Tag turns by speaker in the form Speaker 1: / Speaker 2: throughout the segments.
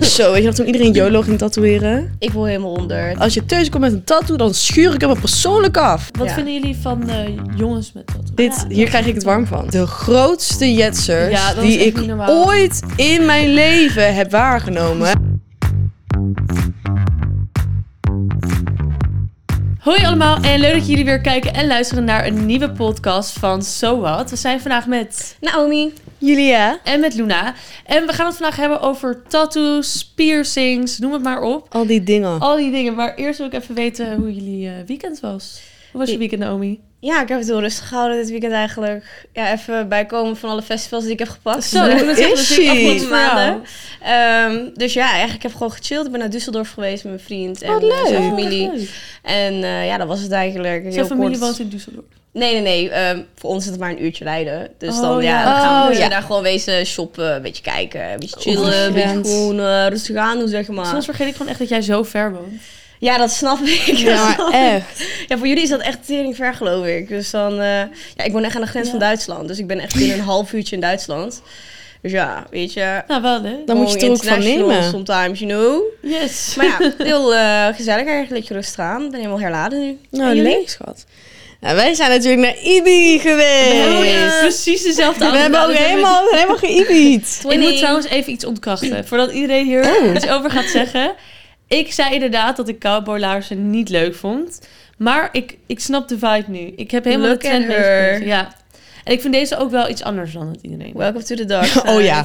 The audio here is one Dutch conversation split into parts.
Speaker 1: Zo, weet je nog toen iedereen YOLO ging tatoeëren?
Speaker 2: Ik wil helemaal onder.
Speaker 1: Als je thuis komt met een tattoo, dan schuur ik hem er persoonlijk af.
Speaker 3: Wat
Speaker 2: Ja.
Speaker 3: vinden jullie van eh, jongens met dat?
Speaker 1: Dit, hier krijg ik het warm van. De grootste jetsers
Speaker 3: Ja, dat is
Speaker 1: die
Speaker 3: echt
Speaker 1: ik
Speaker 3: niet normaal.
Speaker 1: ooit in mijn leven heb waargenomen.
Speaker 3: Hoi allemaal en leuk dat jullie weer kijken en luisteren naar een nieuwe podcast van So What. We zijn vandaag met
Speaker 2: Naomi.
Speaker 1: Julia.
Speaker 3: en met Luna en we gaan het vandaag hebben over tattoos, piercings, noem het maar op.
Speaker 1: Al die dingen.
Speaker 3: Al die dingen, maar eerst wil ik even weten hoe jullie eh, weekend was. Hoe was je weekend Naomi?
Speaker 2: Ja, ik heb het heel rustig gehouden dit weekend eigenlijk. Ja, even bijkomen van alle festivals die ik heb gepakt.
Speaker 3: Zo, ik moet het zeggen, dat is
Speaker 1: is-ie.
Speaker 3: echt maanden.
Speaker 2: maanden. Ehm, dus ja, eigenlijk heb ik gewoon gechilled. Ik ben naar Düsseldorf geweest met mijn vriend
Speaker 3: Oh,
Speaker 2: en
Speaker 1: Wat
Speaker 2: eh, zijn
Speaker 1: leuk.
Speaker 2: familie. En eh, ja, dat was het eigenlijk. Heel
Speaker 3: Jouw familie
Speaker 2: kort.
Speaker 3: woont in Düsseldorf.
Speaker 2: Nee, nee, nee. ehm, voor ons is het maar een uurtje rijden. Dus
Speaker 3: Oh,
Speaker 2: dan, ja,
Speaker 3: ja.
Speaker 2: dan gaan we
Speaker 1: Oh,
Speaker 2: dus
Speaker 1: ja. Oh,
Speaker 2: daar gewoon wezen shoppen, een beetje kijken, een beetje chillen, een
Speaker 1: Ongegrensd.
Speaker 2: beetje gewoon eh, rustig aan doen, zeg
Speaker 3: Soms
Speaker 2: maar.
Speaker 3: vergeet ik gewoon echt dat jij zo ver woont.
Speaker 2: Ja, dat snap ik.
Speaker 1: Ja, maar echt.
Speaker 2: Ja, voor jullie is dat echt tering ver, geloof ik. Dus dan, eh, ja, ik woon echt aan de grens van Duitsland. Dus ik ben echt binnen een half uurtje in Duitsland. Dus ja, weet je.
Speaker 3: Nou, wel hè?
Speaker 1: Dan moet je
Speaker 2: gewoon
Speaker 1: het er ook van
Speaker 2: international
Speaker 1: nemen.
Speaker 2: Sometimes, you know.
Speaker 3: Yes.
Speaker 2: Maar ja, heel eh, gezellig eigenlijk. Lekker rustig aan. Ik ben helemaal herladen nu.
Speaker 1: Nou,
Speaker 2: En jullie?
Speaker 1: leuk schat. Nou, wij zijn natuurlijk naar Ibi geweest.
Speaker 3: Oh, ja. Precies dezelfde
Speaker 1: We
Speaker 3: avond.
Speaker 1: hebben
Speaker 3: Nou,
Speaker 1: ook
Speaker 3: dat
Speaker 1: helemaal, helemaal geïbied.
Speaker 3: Ik moet
Speaker 2: Twinning.
Speaker 3: trouwens even iets ontkrachten. Voordat iedereen hier iets over gaat zeggen. Ik zei inderdaad dat ik cowboylaarzen niet leuk vond. Maar ik, ik snap de vibe nu. Ik heb helemaal
Speaker 2: Look
Speaker 3: de trend
Speaker 2: at her.
Speaker 3: meegekregen. Ja. En ik vind deze ook wel iets anders dan het iedereen.
Speaker 2: Welcome to the dark side.
Speaker 1: Oh ja,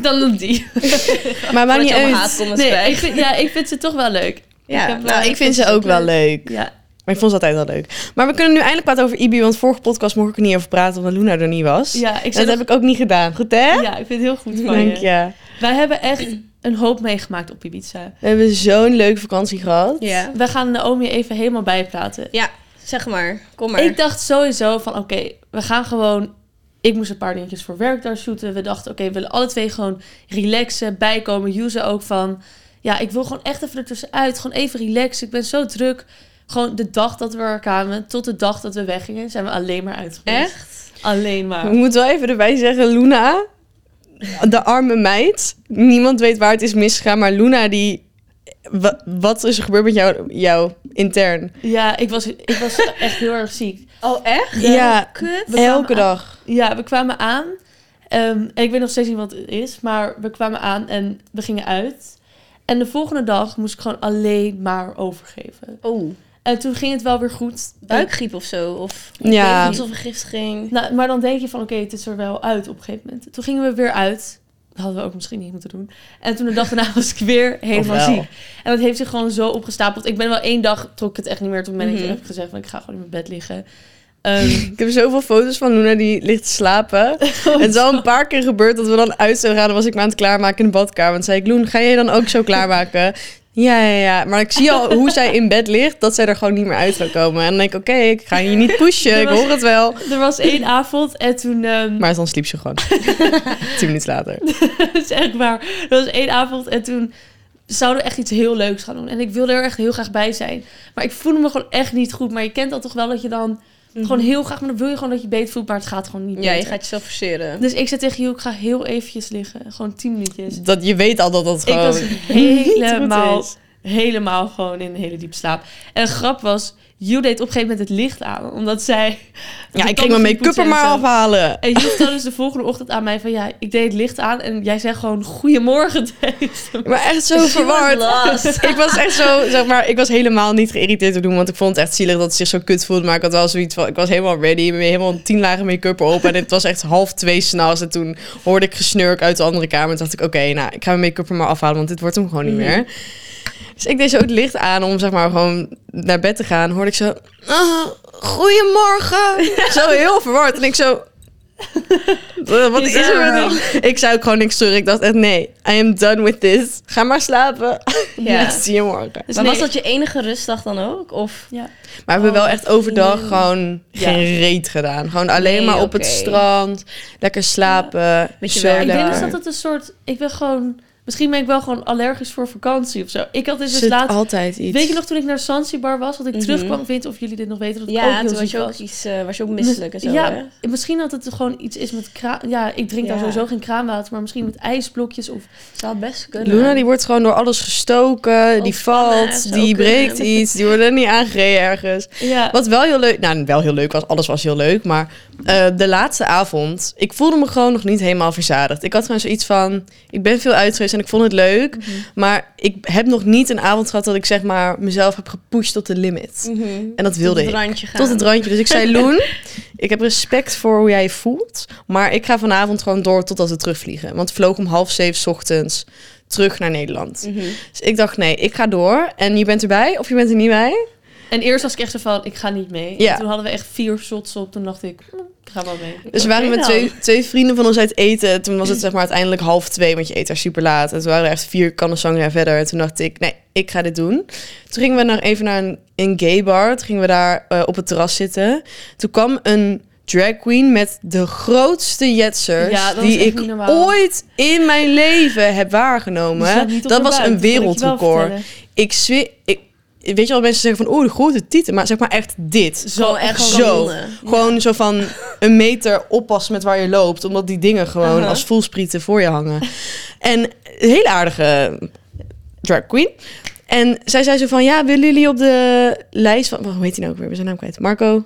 Speaker 3: Dan die.
Speaker 1: maar maakt
Speaker 2: Voordat
Speaker 1: niet
Speaker 2: je allemaal
Speaker 1: uit.
Speaker 2: haatcomments
Speaker 3: Nee,
Speaker 2: krijgt.
Speaker 3: ik vind, ja, ik vind ze toch wel leuk.
Speaker 2: Ja,
Speaker 3: heb,
Speaker 1: Nou,
Speaker 3: eh,
Speaker 1: ik vind ze ook wel leuk.
Speaker 3: Ja.
Speaker 1: Maar ik vond ze altijd wel leuk. Maar we kunnen nu eindelijk praten over Ibi, want vorige podcast mocht ik er niet over praten omdat Luna er niet was.
Speaker 3: Ja, ik
Speaker 1: dat
Speaker 3: zei nog-
Speaker 1: heb ik ook niet gedaan. Goed hè?
Speaker 3: ja, ik vind het heel goed van
Speaker 1: Dank
Speaker 3: je.
Speaker 1: je.
Speaker 3: Wij hebben echt een hoop meegemaakt op Ibiza.
Speaker 1: We hebben zo'n leuke vakantie gehad.
Speaker 2: Ja.
Speaker 3: We gaan Naomi even helemaal bijpraten.
Speaker 2: ja, zeg maar. Kom maar.
Speaker 3: Ik dacht sowieso van, oké, we gaan gewoon... Ik moest een paar dingetjes voor werk daar shooten. We dachten, oké, we willen alle twee gewoon relaxen, bijkomen. User ook van, ja, ik wil gewoon echt even ertussenuit. Gewoon even relaxen. Ik ben zo druk. Gewoon de dag dat we er kwamen, tot de dag dat we weggingen, zijn we alleen maar uit geweest.
Speaker 2: Echt?
Speaker 3: Alleen
Speaker 1: Ik
Speaker 3: maar.
Speaker 1: moet wel even erbij zeggen, Luna, de arme meid. Niemand weet waar het is misgegaan, maar Luna die... wa- Wat is er gebeurd met jou, jou intern?
Speaker 3: Ja, ik was, ik was echt heel erg ziek.
Speaker 2: Oh, echt?
Speaker 1: Ja.
Speaker 2: Kut.
Speaker 3: We kwamen
Speaker 1: Elke
Speaker 3: aan-
Speaker 1: dag.
Speaker 3: Ja, we kwamen aan. Ehm, en ik weet nog steeds niet wat het is, maar we kwamen aan en we gingen uit. En de volgende dag moest ik gewoon alleen maar overgeven.
Speaker 2: Oh,
Speaker 3: En toen ging het wel weer goed.
Speaker 2: buikgriep of zo? Of
Speaker 1: Ja.
Speaker 2: Of vergiftiging?
Speaker 3: Nou, maar dan denk je van, oké, het is er wel uit op een gegeven moment. Toen gingen we weer uit. Dat hadden we ook misschien niet moeten doen. En toen de dag daarna was ik weer helemaal
Speaker 1: Of wel.
Speaker 3: ziek. En dat heeft zich gewoon zo opgestapeld. Ik ben wel één dag, trok ik het echt niet meer. Toen ben ik
Speaker 2: Mhm.
Speaker 3: heb ik gezegd, van, ik ga gewoon in mijn bed liggen. Ehm,
Speaker 1: Ik heb zoveel foto's van Luna die ligt te
Speaker 3: Oh,
Speaker 1: slapen. het is al een paar keer gebeurd dat we dan uit zouden gaan. Dan was ik me aan het klaarmaken in de badkamer. En toen zei ik, Loen, ga jij dan ook zo klaarmaken? Ja, ja, ja. Maar ik zie al hoe zij in bed ligt, dat zij er gewoon niet meer uit zou komen. En dan denk ik, oké, ik ga je niet pushen. Ik hoor het wel.
Speaker 3: er was één avond en toen... ehm,
Speaker 1: Maar dan sliep ze gewoon. Tien minuten later.
Speaker 3: Dat is echt waar. Dat was één avond en toen zouden we echt iets heel leuks gaan doen. En ik wilde er echt heel graag bij zijn. Maar ik voelde me gewoon echt niet goed. Maar je kent dat toch wel dat je dan
Speaker 1: Mhm.
Speaker 3: gewoon heel graag... Maar dan wil je gewoon dat je beter voelt, maar het gaat gewoon niet
Speaker 2: Ja, je
Speaker 3: beter.
Speaker 2: gaat jezelf forceren.
Speaker 3: Dus ik zei tegen Joe, ik ga heel eventjes liggen. Gewoon tien minuutjes.
Speaker 1: Dus Dat, je weet al dat dat
Speaker 3: Ik
Speaker 1: gewoon...
Speaker 3: was helemaal,
Speaker 1: Oh, niet goed
Speaker 3: helemaal gewoon in een hele diepe slaap. En de grap was, Joe deed op een gegeven moment het licht aan. Omdat zij...
Speaker 1: ja, ik ging
Speaker 3: kreeg
Speaker 1: mijn make-up er maar afhalen.
Speaker 3: En Joe vertelde dus de volgende ochtend aan mij van... Ja, ik deed het licht aan en jij zei gewoon goedemorgen tegen
Speaker 1: Maar echt zo verward.
Speaker 2: Last.
Speaker 1: Ik was echt zo, zeg maar, ik was helemaal niet geïrriteerd te doen. Want ik vond het echt zielig dat ze zich zo kut voelde. Maar ik had wel zoiets van, ik was helemaal ready. met Helemaal tien lagen make-up erop. En het was echt half twee s'nachts. En toen hoorde ik gesnurk uit de andere kamer. En toen dacht ik, oké, nou, ik ga mijn make-up er maar afhalen. Want dit wordt hem gewoon niet meer. Dus ik deed zo het licht aan om, zeg maar, gewoon naar bed te gaan. Hoorde ik zo, ah, goedemorgen. Zo heel verward. En ik zo... Wat is er met hem? Ik zei ook gewoon niks terug. Ik dacht echt, nee, I am done with this. Ga maar slapen.
Speaker 2: Ja.
Speaker 1: Ja. Zie je morgen.
Speaker 3: Dus
Speaker 2: maar
Speaker 3: nee,
Speaker 2: was dat je enige rustdag dan ook? Of
Speaker 3: Ja.
Speaker 1: Maar we hebben
Speaker 3: Oh,
Speaker 1: wel echt overdag
Speaker 3: chill.
Speaker 1: gewoon
Speaker 3: Ja.
Speaker 1: geen reet gedaan. Gewoon alleen
Speaker 2: Nee,
Speaker 1: maar op
Speaker 2: oké.
Speaker 1: het strand. Lekker slapen.
Speaker 2: Beetje
Speaker 1: zo
Speaker 2: werk.
Speaker 3: Ik denk dus
Speaker 1: lekker.
Speaker 3: dat het een soort... Ik ben gewoon Misschien ben ik wel gewoon allergisch voor vakantie of zo. Ik had dus, dus
Speaker 1: Zit
Speaker 3: laatst...
Speaker 1: altijd iets.
Speaker 3: Weet je nog toen ik naar Zanzibar was, dat ik
Speaker 2: Mhm.
Speaker 3: terugkwam, weet of jullie dit nog weten, dat ik ook
Speaker 2: Ja,
Speaker 3: heel
Speaker 2: toen was
Speaker 3: ziek
Speaker 2: je ook,
Speaker 3: was.
Speaker 2: iets, eh, was je ook misselijk en zo.
Speaker 3: ja,
Speaker 2: hè?
Speaker 3: misschien dat het gewoon iets is met kraan. Ja, ik drink daar
Speaker 2: Ja.
Speaker 3: sowieso geen kraanwater, maar misschien met ijsblokjes of
Speaker 2: Zou het best kunnen.
Speaker 1: Luna die wordt gewoon door alles gestoken, die
Speaker 2: Of pannen,
Speaker 1: valt,
Speaker 2: zou
Speaker 1: die
Speaker 2: kunnen.
Speaker 1: breekt iets, die wordt er niet aangereden ergens.
Speaker 3: ja.
Speaker 1: Wat wel heel leuk, nou wel heel leuk was, alles was heel leuk, maar eh, de laatste avond, ik voelde me gewoon nog niet helemaal verzadigd. Ik had gewoon zoiets van, ik ben veel uit geweest en ik vond het leuk,
Speaker 2: Mhm.
Speaker 1: maar ik heb nog niet een avond gehad dat ik zeg maar mezelf heb gepusht tot de limit.
Speaker 2: Mhm.
Speaker 1: En dat
Speaker 2: Tot
Speaker 1: wilde
Speaker 2: het
Speaker 1: ik.
Speaker 2: randje gaan.
Speaker 1: Tot het randje. Dus ik zei, Loen, ik heb respect voor hoe jij je voelt. Maar ik ga vanavond gewoon door totdat we terugvliegen. Want we vlogen om half zeven 's ochtends terug naar Nederland.
Speaker 2: Mhm.
Speaker 1: Dus ik dacht, nee, ik ga door. En je bent erbij of je bent er niet bij.
Speaker 3: En eerst was ik echt zo van, ik ga niet mee.
Speaker 1: Ja.
Speaker 3: En toen hadden we echt vier shots op. Toen dacht ik, hm, ik ga wel mee.
Speaker 1: Dus we waren
Speaker 2: Oké
Speaker 1: met
Speaker 2: dan.
Speaker 1: twee, twee vrienden van ons uit eten. Toen was het zeg maar uiteindelijk half twee, want je eet daar super laat. En toen waren we echt vier kannen sangria verder. En toen dacht ik, nee, ik ga dit doen. Toen gingen we naar, even naar een, een gay bar. Toen gingen we daar eh, op het terras zitten. Toen kwam een drag queen met de grootste jetsers...
Speaker 3: Ja, dat was
Speaker 1: die
Speaker 3: echt
Speaker 1: ik
Speaker 3: niet normaal.
Speaker 1: ooit in mijn leven heb
Speaker 3: Die
Speaker 1: waargenomen.
Speaker 3: staat niet op
Speaker 1: dat
Speaker 3: de
Speaker 1: was
Speaker 3: buik,
Speaker 1: een
Speaker 3: Dus dat kan ik je wel
Speaker 1: wereldrecord.
Speaker 3: vertellen.
Speaker 1: Ik zweer... Ik, weet je wel, mensen zeggen van, oh, de grote titel. Maar zeg maar echt dit.
Speaker 3: Zo echt
Speaker 2: gewoon
Speaker 1: Zo.
Speaker 2: kanonnen.
Speaker 1: Gewoon zo van een meter oppassen met waar je loopt. Omdat die dingen gewoon
Speaker 2: Aha.
Speaker 1: als voelsprieten voor je hangen. En een hele aardige drag queen. En zij zei zo van, ja, willen jullie op de lijst van... wacht, Hoe heet hij nou ook weer? We zijn naam kwijt. Marco.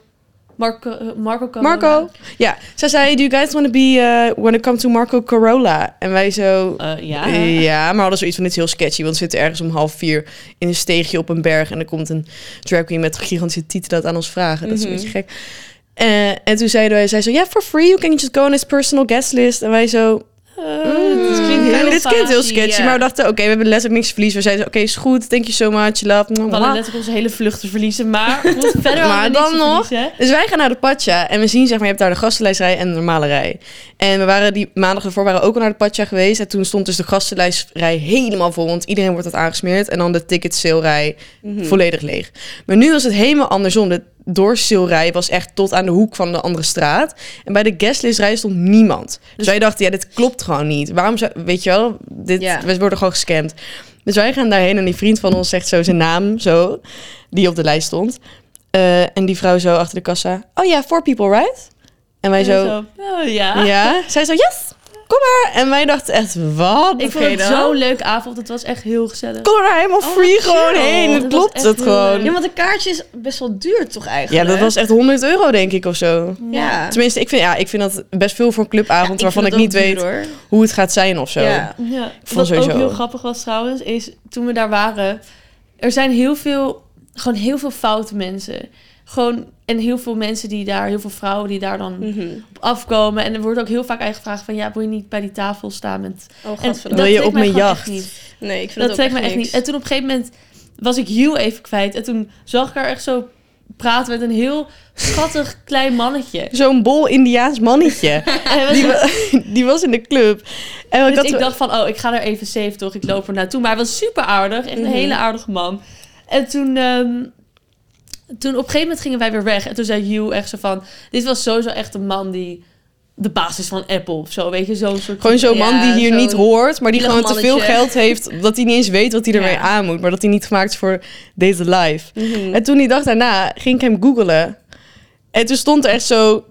Speaker 3: Marco, eh, Marco, Carola.
Speaker 1: Marco. Ja. Zij zei, do you guys want to be... eh want to come to Marco Corolla? En wij zo...
Speaker 3: Eh, ja.
Speaker 1: Ja, maar we hadden zoiets van, dit is heel sketchy. Want we zitten ergens om half vier in een steegje op een berg. En er komt een drag queen met gigantische tieten dat aan ons vragen. Dat is een
Speaker 2: Mhm.
Speaker 1: beetje gek. Eh, en toen zeiden wij, zij zo, ja, for free, you can just go on his personal guest list. En wij zo,
Speaker 3: Eh, dit
Speaker 1: mm,
Speaker 3: klinkt heel
Speaker 1: dit klinkt heel
Speaker 3: fancy,
Speaker 1: sketchy.
Speaker 3: ja.
Speaker 1: Maar we dachten, oké, we hebben letterlijk niks te verliezen. We zeiden, oké, is goed, thank you so much, love.
Speaker 3: We hadden letterlijk onze hele vlucht te verliezen, maar goed, verder
Speaker 1: Maar
Speaker 3: hadden we
Speaker 1: dan
Speaker 3: niks te
Speaker 1: nog-
Speaker 3: verliezen.
Speaker 1: Dus wij gaan naar de Pacha en we zien, zeg maar, je hebt daar de gastenlijstrij en de normale rij. En we waren die maandag ervoor waren we ook al naar de Pacha geweest. En toen stond dus de gastenlijstrij helemaal vol, want iedereen wordt dat aangesmeerd. En dan de ticket sale rij volledig leeg. Maar nu was het helemaal andersom. De doorsale rij was echt tot aan de hoek van de andere straat. En bij de guestlist rij stond niemand. Dus wij dachten, ja, dit klopt gewoon niet. Waarom zou, weet je wel, dit,
Speaker 2: Ja.
Speaker 1: we worden gewoon gescamd. Dus wij gaan daarheen en die vriend van ons zegt zo zijn naam, zo, die op de lijst stond. Eh, en die vrouw zo achter de kassa. Oh ja, four people, right? En wij
Speaker 3: En
Speaker 1: zo,
Speaker 3: eh, ja.
Speaker 1: ja. Zij zo, yes, kom maar. En wij dachten echt, wat?
Speaker 3: Ik vond
Speaker 2: Oké
Speaker 3: het
Speaker 2: dan.
Speaker 3: zo'n leuke avond. Het was echt heel gezellig.
Speaker 1: Kom er helemaal
Speaker 3: Oh,
Speaker 1: free
Speaker 3: wat
Speaker 1: gewoon
Speaker 3: chill.
Speaker 1: heen. Het
Speaker 3: Dat was
Speaker 1: klopt
Speaker 3: echt
Speaker 1: het
Speaker 3: heel
Speaker 1: gewoon.
Speaker 3: leuk.
Speaker 2: Ja, want een kaartje is best wel duur toch
Speaker 1: Ja,
Speaker 2: eigenlijk?
Speaker 1: dat was echt 100 euro denk ik of zo.
Speaker 2: Ja.
Speaker 1: Tenminste, ik vind, ja, ik vind dat best veel voor een clubavond
Speaker 2: Ja,
Speaker 1: waarvan ik
Speaker 2: vind
Speaker 1: niet
Speaker 2: het ook
Speaker 1: weet
Speaker 2: duur, hoor.
Speaker 1: hoe het gaat zijn of zo.
Speaker 2: Ja.
Speaker 3: Ja,
Speaker 1: vond
Speaker 3: wat
Speaker 1: sowieso-
Speaker 3: ook heel grappig was trouwens, is toen we daar waren, er zijn heel veel, gewoon heel veel foute mensen. Gewoon, en heel veel mensen die daar, heel veel vrouwen die daar dan
Speaker 1: Mm.
Speaker 2: Mhm.
Speaker 3: op afkomen. En er wordt ook heel vaak eigenlijk gevraagd van, ja, wil je niet bij die tafel staan? Met...
Speaker 2: Oh,
Speaker 3: En
Speaker 2: gadverdamme.
Speaker 1: Wil je
Speaker 3: trekt
Speaker 1: op
Speaker 3: mij
Speaker 1: mijn
Speaker 3: gewoon
Speaker 1: jacht?
Speaker 3: echt niet.
Speaker 2: Nee, ik vind
Speaker 3: Dat
Speaker 2: dat ook
Speaker 3: trekt me echt
Speaker 2: niks.
Speaker 3: niet. En toen op een gegeven moment was ik Hugh even kwijt. En toen zag ik haar echt zo praten met een heel schattig klein mannetje.
Speaker 1: Zo'n bol Indiaans mannetje.
Speaker 3: En hij was
Speaker 1: die,
Speaker 3: zo-
Speaker 1: wa- die was in de club. En ik
Speaker 3: Dus
Speaker 1: had
Speaker 3: ik dacht van, oh, ik ga er even safe toch, ik loop er naartoe. Maar hij was super aardig, echt een
Speaker 2: Mhm.
Speaker 3: hele aardige man. En toen, ehm, toen op een gegeven moment gingen wij weer weg. En toen zei Hugh echt zo van, dit was sowieso echt een man die de basis van Apple of zo, weet je, zo'n soort...
Speaker 1: gewoon zo'n man die
Speaker 2: Ja,
Speaker 1: hier
Speaker 2: zo'n
Speaker 1: niet hoort, maar die
Speaker 2: lullig
Speaker 1: gewoon te veel
Speaker 2: mannetje.
Speaker 1: geld heeft dat hij niet eens weet wat hij ermee
Speaker 3: Ja. Mm.
Speaker 1: aan moet. Maar dat hij niet gemaakt is voor deze life.
Speaker 2: Mhm.
Speaker 1: En toen die dag daarna ging ik hem googelen. En toen stond er echt zo...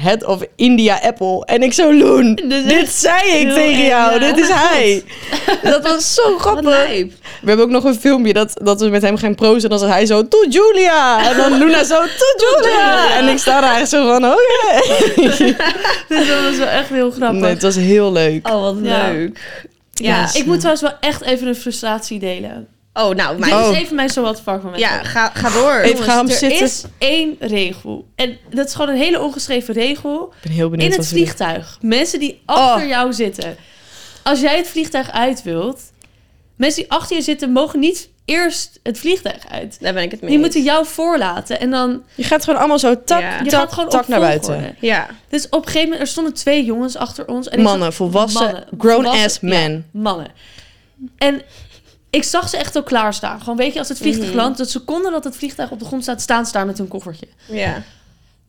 Speaker 1: Head of India Apple. En ik zo, Loen,
Speaker 3: Dit is
Speaker 1: dit
Speaker 3: echt
Speaker 1: zei ik
Speaker 3: heel
Speaker 1: tegen
Speaker 3: erg,
Speaker 1: jou.
Speaker 3: ja.
Speaker 1: Dit is hij. Dat was zo
Speaker 2: Wat
Speaker 1: grappig.
Speaker 2: lijp.
Speaker 1: We hebben ook nog een filmpje dat, dat we met hem gaan prozen. En dan zat hij zo, to Julia. En dan Luna zo, to Julia. En ik sta daar echt zo van, oké.
Speaker 3: Dus dat was wel echt heel grappig.
Speaker 1: Nee, het was heel leuk.
Speaker 2: Oh, wat
Speaker 3: Ja.
Speaker 2: leuk.
Speaker 1: Ja.
Speaker 2: Ja.
Speaker 3: Ik moet trouwens wel echt even een frustratie delen.
Speaker 2: Oh, nou, mijn...
Speaker 3: Dit
Speaker 1: Oh.
Speaker 3: is even mijn zowat fuck moment.
Speaker 2: Ja, ga, ga door.
Speaker 1: Even gaan
Speaker 3: Dus er
Speaker 1: zitten.
Speaker 3: is één regel. En dat is gewoon een hele ongeschreven regel.
Speaker 1: Ik ben heel benieuwd
Speaker 3: In het
Speaker 1: wat we doen.
Speaker 3: vliegtuig. Mensen die achter
Speaker 1: Oh.
Speaker 3: jou zitten. Als jij het vliegtuig uit wilt, mensen die achter je zitten mogen niet eerst het vliegtuig uit.
Speaker 2: Daar ben ik het mee.
Speaker 3: Die
Speaker 2: eens.
Speaker 3: moeten jou voorlaten en dan
Speaker 1: Je gaat gewoon allemaal zo tak,
Speaker 2: Ja.
Speaker 3: je
Speaker 1: tak,
Speaker 3: gaat gewoon
Speaker 1: tak
Speaker 3: op
Speaker 1: naar buiten.
Speaker 3: volgorde.
Speaker 2: Ja.
Speaker 3: Dus op een gegeven moment er stonden twee jongens achter ons en ik
Speaker 1: Mannen,
Speaker 3: zag-
Speaker 1: volwassen,
Speaker 3: mannen,
Speaker 1: grown-ass
Speaker 3: volwassen-
Speaker 1: man.
Speaker 3: ja, mannen. En ik zag ze echt al klaarstaan. Gewoon weet je, als het
Speaker 1: Mhm.
Speaker 3: vliegtuig landt, dat seconde dat het vliegtuig op de grond staat, staan ze daar met hun koffertje.
Speaker 2: Ja.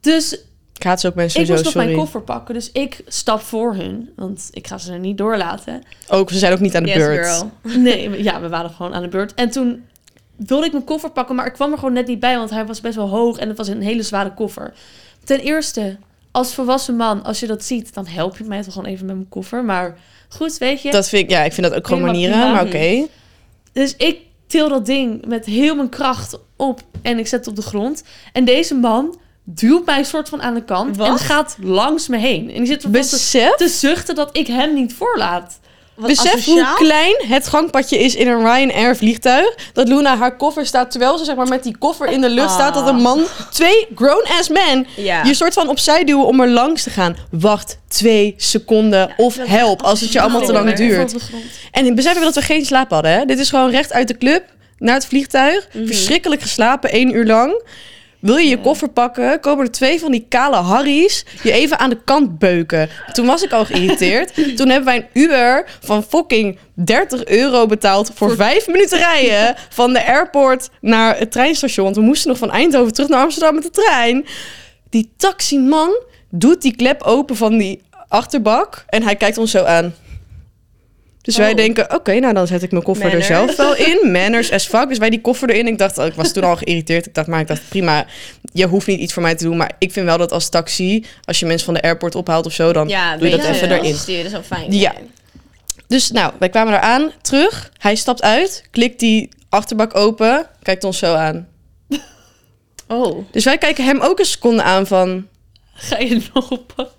Speaker 3: Dus
Speaker 1: haat ook mensen
Speaker 3: Ik moest
Speaker 1: sowieso,
Speaker 3: nog
Speaker 1: sorry.
Speaker 3: mijn koffer pakken, dus ik stap voor hun. Want ik ga ze er niet doorlaten.
Speaker 1: Ook, ze zijn ook niet aan de
Speaker 2: Yes,
Speaker 1: beurt.
Speaker 2: girl.
Speaker 3: Nee, we- ja, we waren gewoon aan de beurt. En toen wilde ik mijn koffer pakken, maar ik kwam er gewoon net niet bij, want hij was best wel hoog en het was een hele zware koffer. Ten eerste, als volwassen man, als je dat ziet, dan help je mij toch gewoon even met mijn koffer. Maar goed, weet je.
Speaker 1: Dat vind ik, ja, ik vind dat ook gewoon
Speaker 3: Prima,
Speaker 1: manieren,
Speaker 3: prima.
Speaker 1: maar oké.
Speaker 3: Dus ik til dat ding met heel mijn kracht op en ik zet het op de grond. En deze man duwt mij soort van aan de kant en
Speaker 2: Wat?
Speaker 3: gaat langs me heen. En die zit ervan te,
Speaker 1: Besef,
Speaker 3: te zuchten dat ik hem niet voorlaat.
Speaker 2: Wat
Speaker 1: besef hoe
Speaker 2: asociaal.
Speaker 1: klein het gangpadje is in een Ryanair vliegtuig. Dat Luna haar koffer staat, terwijl ze zeg maar met die koffer in de lucht
Speaker 2: Ah.
Speaker 1: staat. Dat een man, twee grown-ass men,
Speaker 2: Ja.
Speaker 1: je soort van opzij duwen om er langs te gaan. Wacht twee seconden of help, als het je allemaal te lang
Speaker 2: asociaal, hè?
Speaker 1: duurt. En beseffen we dat we geen slaap hadden, hè? Dit is gewoon recht uit de club naar het vliegtuig. Verschrikkelijk geslapen, één uur lang. Wil je je koffer pakken, komen er twee van die kale harries je even aan de kant beuken. Toen was ik al geïrriteerd. Toen hebben wij een Uber van fucking 30 euro betaald voor vijf minuten rijden van de airport naar het treinstation. Want we moesten nog van Eindhoven terug naar Amsterdam met de trein. Die taximan doet die klep open van die achterbak en hij kijkt ons zo aan. Dus wij
Speaker 2: Oh.
Speaker 1: denken, oké, nou dan zet ik mijn koffer
Speaker 2: Manners.
Speaker 1: er zelf wel in. Manners as fuck. Dus wij die koffer erin. Ik dacht, ik was toen al geïrriteerd. Ik dacht, maar ik dacht, prima, je hoeft niet iets voor mij te doen. Maar ik vind wel dat als taxi, als je mensen van de airport ophaalt of zo, dan
Speaker 2: Ja,
Speaker 1: doe je dat
Speaker 2: weet
Speaker 1: even
Speaker 2: je,
Speaker 1: erin.
Speaker 2: assisteren zou fijn
Speaker 1: Ja.
Speaker 2: zijn.
Speaker 1: Dus nou, wij kwamen eraan, terug. Hij stapt uit, klikt die achterbak open, kijkt ons zo aan.
Speaker 2: Oh.
Speaker 1: Dus wij kijken hem ook een seconde aan van,
Speaker 3: Ga je het nog oppakken?